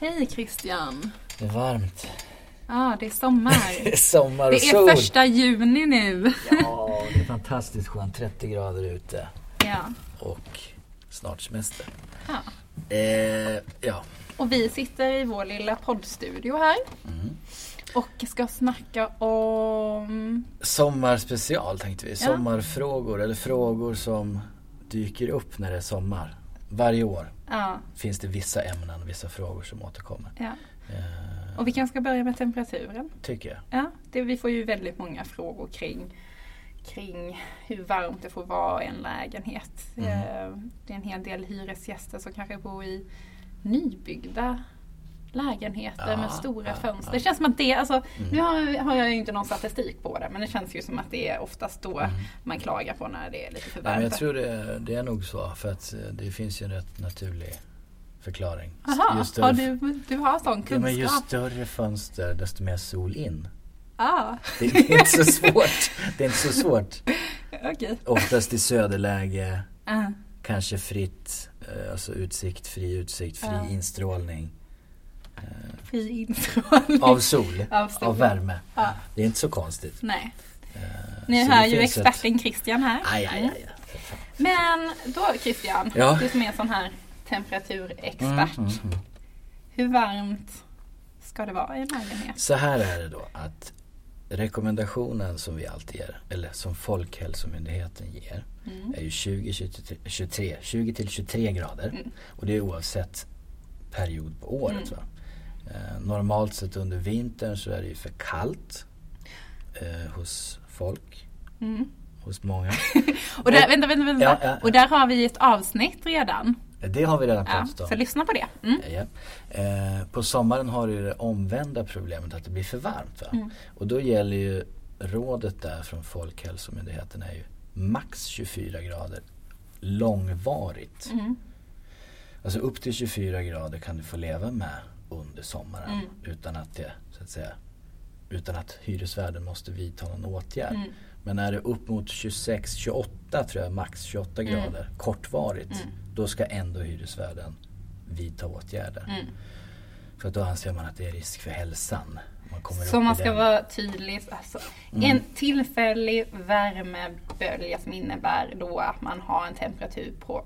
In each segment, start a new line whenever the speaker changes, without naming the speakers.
Hej Christian!
Det är varmt.
Ja, det är sommar.
Det är sommar
Det
och sol.
är första juni nu.
Ja, det är fantastiskt skönt. 30 grader ute
Ja.
och snart semester.
ja.
Eh, ja,
Och vi sitter i vår lilla poddstudio här.
Mm.
Och ska snacka om...
sommarspecial tänkte vi. Sommarfrågor eller frågor som dyker upp när det är sommar. Varje år
Ja,
finns det vissa ämnen, vissa frågor som återkommer.
ja.
Eh,
Och vi kanske ska börja med temperaturen.
tycker jag.
Ja, det, vi får ju väldigt många frågor kring, kring hur varmt det får vara i en lägenhet.
Mm.
Eh, Det är en hel del hyresgäster som kanske bor i nybyggda lägenheter
Ja,
med stora
ja,
fönster.
ja. Mm.
Det känns som att det, alltså, nu har, har jag ju inte någon statistik på det men det känns ju som att det är oftast då man klagar på när det är lite för
Nej, Mm. men jag
varmt.
tror det, det är nog så för att eh, det finns ju en rätt naturlig förklaring.
Jaha,
Ju större
har du, du har sån
Ja, men ju
kunskap?
större fönster desto mer sol in.
Ah,
Det är det är inte så svårt. Det är inte så svårt.
okej.
Oftast i söderläge,
Ah,
kanske fritt, eh, alltså utsikt, fri utsikt, fri
Ja.
instrålning
Ah,
eh,
fri intrålning.
av sol,
Av sol.
av värme.
Ja.
Det är inte så konstigt. Eh,
Nej. Ni
så
hör
det
ju
finns ett-
experten Christian här.
Aj, aj,
Mm.
aj. aj.
Men då Christian,
Ja.
du som är sån här temperaturexpert.
Mm, mm, mm.
Hur varmt ska det vara i en lägenhet?
Så här är det då att rekommendationen som vi alltid ger, eller som Folkhälsomyndigheten ger,
Mm.
är ju 20, 23, 23, 20 till 23 grader.
Mm.
Och det är oavsett period på året.
Mm.
Va? Eh, normalt sett under vintern så är det ju för kallt eh, hos folk,
Mm.
hos många.
Och, där, vänta, vänta, vänta.
Ja, ja, ja.
och där har vi ett avsnitt redan.
Eh, det har vi redan
Ja,
pratat
så
om.
lyssna på det. Mm.
Ja. Eh, på sommaren har du ju det omvända problemet att det blir för varmt. Va?
Mm.
Och då gäller ju rådet där från Folkhälsomyndigheten är ju max 24 grader långvarigt.
Mm.
Alltså upp till 24 grader kan du få leva med under sommaren
Mm.
utan att det så att säga utan att hyresvärden måste vidta någon åtgärd.
Mm.
Men är det upp mot 26, 28 tror jag max 28
Mm.
grader kortvarigt
Mm.
då ska ändå hyresvärden vidta åtgärder.
Mm.
För att då anser man att det är risk för hälsan. Man kommer
Så
upp i
man ska
den. Mm.
vara tydlig. Alltså, En tillfällig värmebölja som innebär då att man har en temperatur på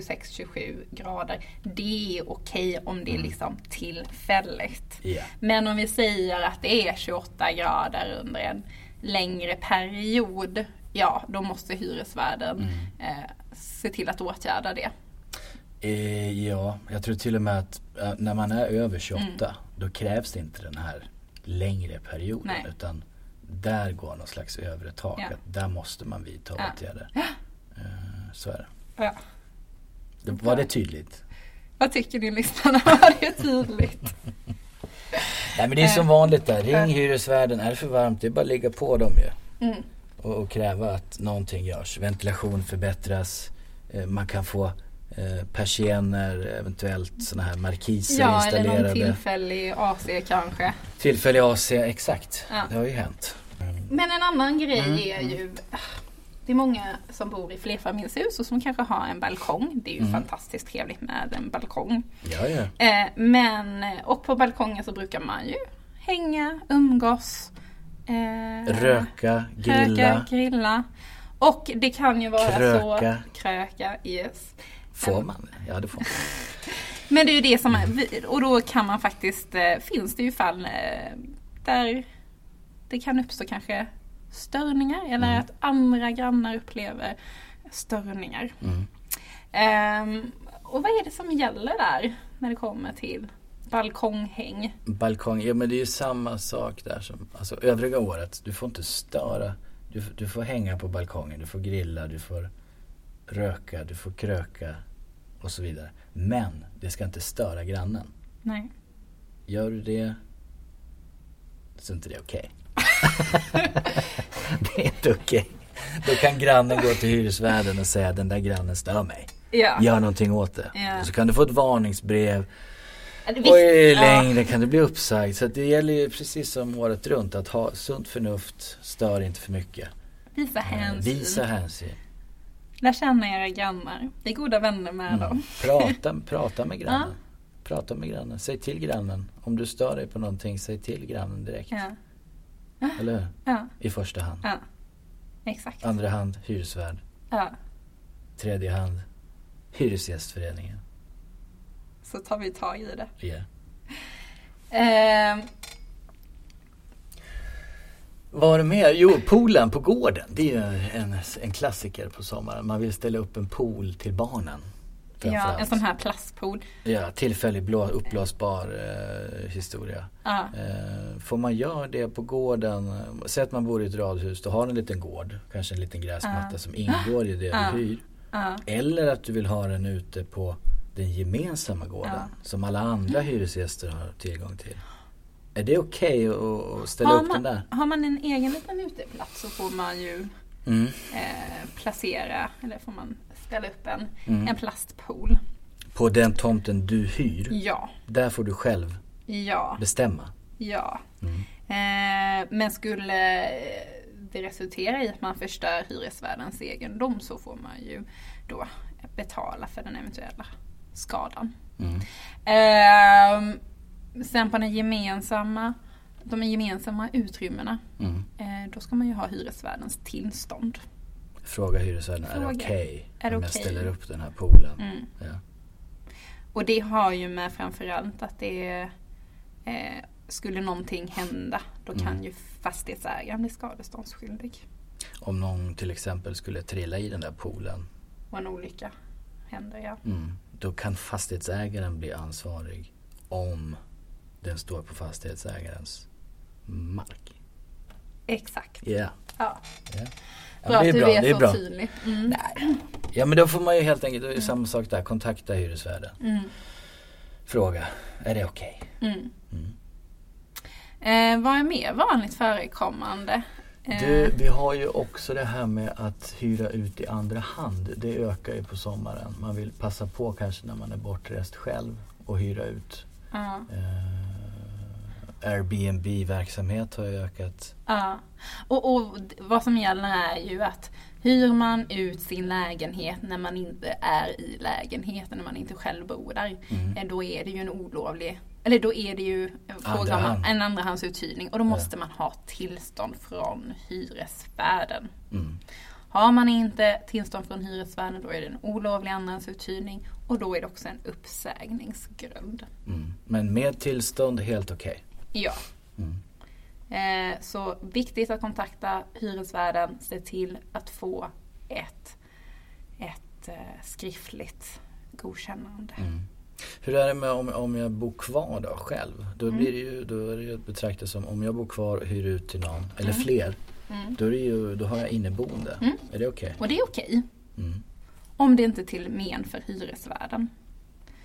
26-27 grader. Det är okej om
Mm.
det är liksom tillfälligt.
Ja.
Men om vi säger att det är 28 grader under en längre period, ja då måste hyresvärden
Mm.
eh, se till att åtgärda det.
Eh, ja, jag tror till och med att eh, när man är över 28
Mm.
då krävs det inte den här längre perioden
Nej.
utan där går någon slags övre tak.
Ja.
Att där måste man vidta
Ja.
åtgärder. Eh, så är det.
Ja.
det. Var det tydligt?
Vad tycker ni lyssnarna? Var det tydligt?
Nej men det är som
Eh.
vanligt där. Ring
Ja.
hyresvärden. Är det för varmt? Det är bara att ligga på dem ju.
Mm.
Och, och kräva att någonting görs. Ventilation förbättras. Eh, man kan få eh, persienner, eventuellt sådana här markiser
Ja, eller
installerade.
någon tillfällig AC kanske.
Tillfällig AC, exakt.
Ja.
Det har ju hänt. Mm.
Men en annan grej
Mm,
är ju det är många som bor i flerfamiljshus och som kanske har en balkong. Det är ju
Mm.
fantastiskt trevligt med en balkong.
Ja, ja.
Eh, men, och på balkongen så brukar man ju hänga, umgås. Eh,
Röka,
röka,
grilla.
grilla. Och det kan ju vara
Kröka.
så. Kröka. Yes.
Får man? Ja, det får man.
Men det är ju det som
Mm.
är, och då kan man faktiskt, eh, finns det ju fall eh, där det kan uppstå kanske störningar eller
Mm.
att andra grannar upplever störningar.
Mm.
Ehm, och vad är det som gäller där när det kommer till balkonghäng?
Balkong, ja men det är ju samma sak där som alltså, övriga året. Du får inte störa. Du, f- du får hänga på balkongen, du får grilla, du får röka, du får kröka och så vidare. Men det ska inte störa grannen.
Nej.
Gör du det så är inte det okej. det är inte okej. Då kan grannen gå till hyresvärden och säga den där grannen stör mig.
Ja.
Gör någonting åt det.
Ja.
Och så kan du få ett varningsbrev.
Eller
Och i
visst, ja.
längden kan du bli uppsagd. Så att det gäller ju precis som året runt att ha sunt förnuft, stör inte för mycket.
Visa
Eh,
hänsyn.
Visa hänsyn. Mm.
Lär känna era grannar. Vi är goda vänner med dem.
Prata, prata med grannen. Prata med grannen. Säg till grannen. Om du stör dig på någonting, säg till grannen direkt.
Ja.
Eller hur?
ja,
I första hand.
ja. Exakt.
Andra hand, hyresvärd.
Ja.
Tredje hand, Hyresgästföreningen.
Så tar vi tag i det.
Yeah.
Ehm,
Vad har du mer? Jo, poolen på gården. Det är ju en, en klassiker på sommaren. Man vill ställa upp en pool till barnen.
ja, en
framförallt.
sån här plastpool.
Ja, tillfällig blå, uppblåsbar eh, historia.
Ja,
Eh, får man göra det på gården, eh, säg att man bor i ett radhus, då har en liten gård, kanske en liten gräsmatta
Ja.
som ingår i det
Ja.
du hyr.
ja,
Eller att du vill ha den ute på den gemensamma gården
Ja.
som alla andra hyresgäster har tillgång till. Är det okej att- att ställa
Har
upp
man-
den där?
Har man en egen liten uteplats så får man ju
Mm.
eh, placera, eller får man ställa upp en,
Mm.
en plastpool.
På den tomten du hyr,
Ja,
där får du själv
ja,
bestämma.
ja.
Mm.
Eh, men skulle eh, det resultera i att man förstör hyresvärdens egendom så får man ju då betala för den eventuella skadan.
Mm.
Ehm, sen på den gemensamma, de gemensamma utrymmena,
Mm.
eh, då ska man ju ha hyresvärdens tillstånd.
Fråga hyresvärden, är det
Fråga.
okej
Är det
om jag
okej?
ställer upp den här poolen?
Mm.
Ja.
Och det har ju med framförallt att det är, eh, skulle någonting hända, då kan
Mm.
ju fastighetsägaren bli skadeståndsskyldig.
Om någon till exempel skulle trilla i den där poolen,
Och en olycka händer, ja.
mm. då kan fastighetsägaren bli ansvarig om den står på fastighetsägarens mark.
Exakt.
Ja.
Ja.
Ja. Ja, men
Bra
det
att
är
du
bra.
är,
Det är
så
bra.
tydlig. Mm.
Ja men då får man ju helt enkelt, det är ju samma sak där, kontakta hyresvärden.
Mm.
Fråga, är det okej?
Mm.
Mm.
Eh, vad är mer vanligt förekommande? Eh,
Du, vi har ju också det här med att hyra ut i andra hand. Det ökar ju på sommaren. Man vill passa på kanske när man är bortrest själv och hyra ut.
ja,
Eh, Airbnb-verksamhet har ju ökat.
ja. Och, och d- vad som gäller är ju att hyr man ut sin lägenhet när man inte är i lägenheten, när man inte själv bor där,
Mm.
eh, då är det ju en olovlig eller då är det ju en fråga om
Andrahand.
en andrahandsuthyrning och då måste man ha tillstånd från hyresvärden.
Mm.
Har man inte tillstånd från hyresvärden då är det en olovlig andrahandsuthyrning och då är det också en uppsägningsgrund.
Mm. Men med tillstånd helt okej.
Ja.
Mm.
Eh, Så viktigt att kontakta hyresvärden, se till att få ett, ett eh, skriftligt godkännande.
Mm. Hur är det med om, om jag bor kvar då själv? Då,
Mm.
blir det ju, då är det ju att betrakta som om jag bor kvar och hyr ut till någon, eller
Mm.
fler,
Mm.
då, är det ju, då har jag inneboende.
Mm.
Är det okej?
Och det är okej,
Mm.
om det inte är till men för hyresvärden.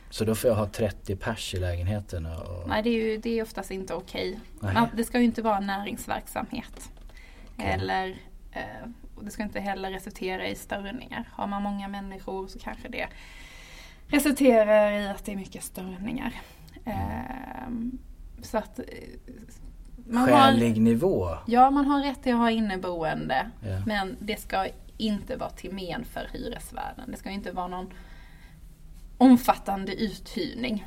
Så då får jag ha 30 pers i lägenheten och...
Nej, det är, ju, det är oftast inte okej.
Nej.
Man- Det ska ju inte vara näringsverksamhet.
Okej.
Eller, eh, och det ska inte heller resultera i störningar. Har man många människor så kanske det resulterar i att det är mycket störningar.
Mm.
Ehm, så att eh, man har,
Skälig nivå.
ja, man har rätt till att ha inneboende.
Ja.
Men det ska inte vara till men för hyresvärden. Det ska inte vara någon omfattande uthyrning.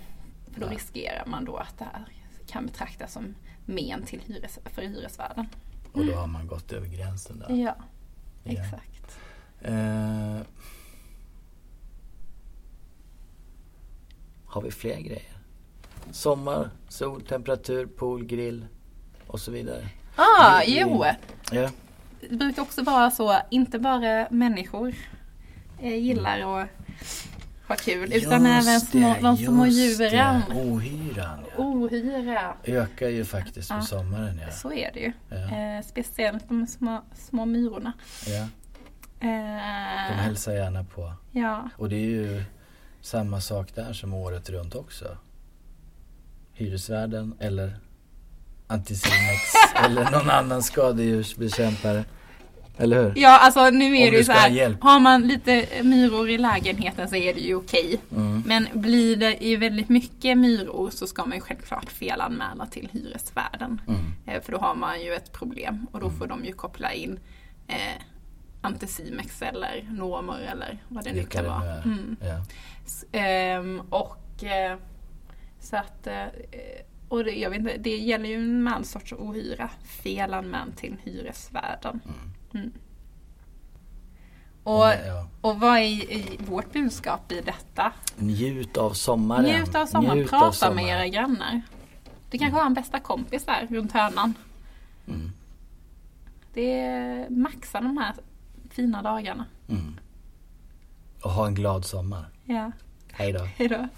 För då
Nej.
riskerar man då att det här kan betraktas som men till hyres, för hyresvärden.
Och då har man gått över gränsen
Ja,
där. Ja.
exakt.
Eh, har vi fler grejer? Sommar, sol, temperatur, pool, grill och så vidare.
Ah,
Det är-
jo!
Ja.
Det brukar också vara så, inte bara människor eh, gillar att ha kul, utan
Just
även små, de
det,
små
just det.
djuren.
Ohyran ja.
Ohyra.
Ökar ju faktiskt på
Ja.
sommaren ja.
Så är det ju.
ja.
Eh, speciellt de små, små myrorna.
ja. De
Eh,
hälsar gärna på.
ja.
Och det är ju samma sak där som året runt också. Hyresvärden eller Anticimex eller någon annan skadedjursbekämpare. Eller hur?
Ja, alltså nu är
Om
det
du
ju så
ska
här.
ha hjälp.
Har man lite myror i lägenheten så är det ju okej.
Mm.
Men blir det ju väldigt mycket myror så ska man ju självklart felanmäla till hyresvärden.
Mm.
Eh, För då har man ju ett problem och då får de ju koppla in eh, Anticimex eller normer eller vad det nu Mm.
Vilka
kan
det nu
vara.
är.
Mm.
Ja.
S- ehm, och eh, Så att, eh, och det, jag vet inte, det gäller ju en man sorts ohyra. Felan man till hyresvärden.
Mm.
Mm. Och,
ja.
och vad är i vårt budskap i detta?
Njut av sommaren.
Njut av sommaren,
Njut av
prata
sommaren.
med era grannar. Du kanske har en bästa kompis där runt hörnan.
Mm.
Det är maxa de här fina dagarna.
Mm. Och ha en glad sommar.
Ja,
Hej då.
hejdå.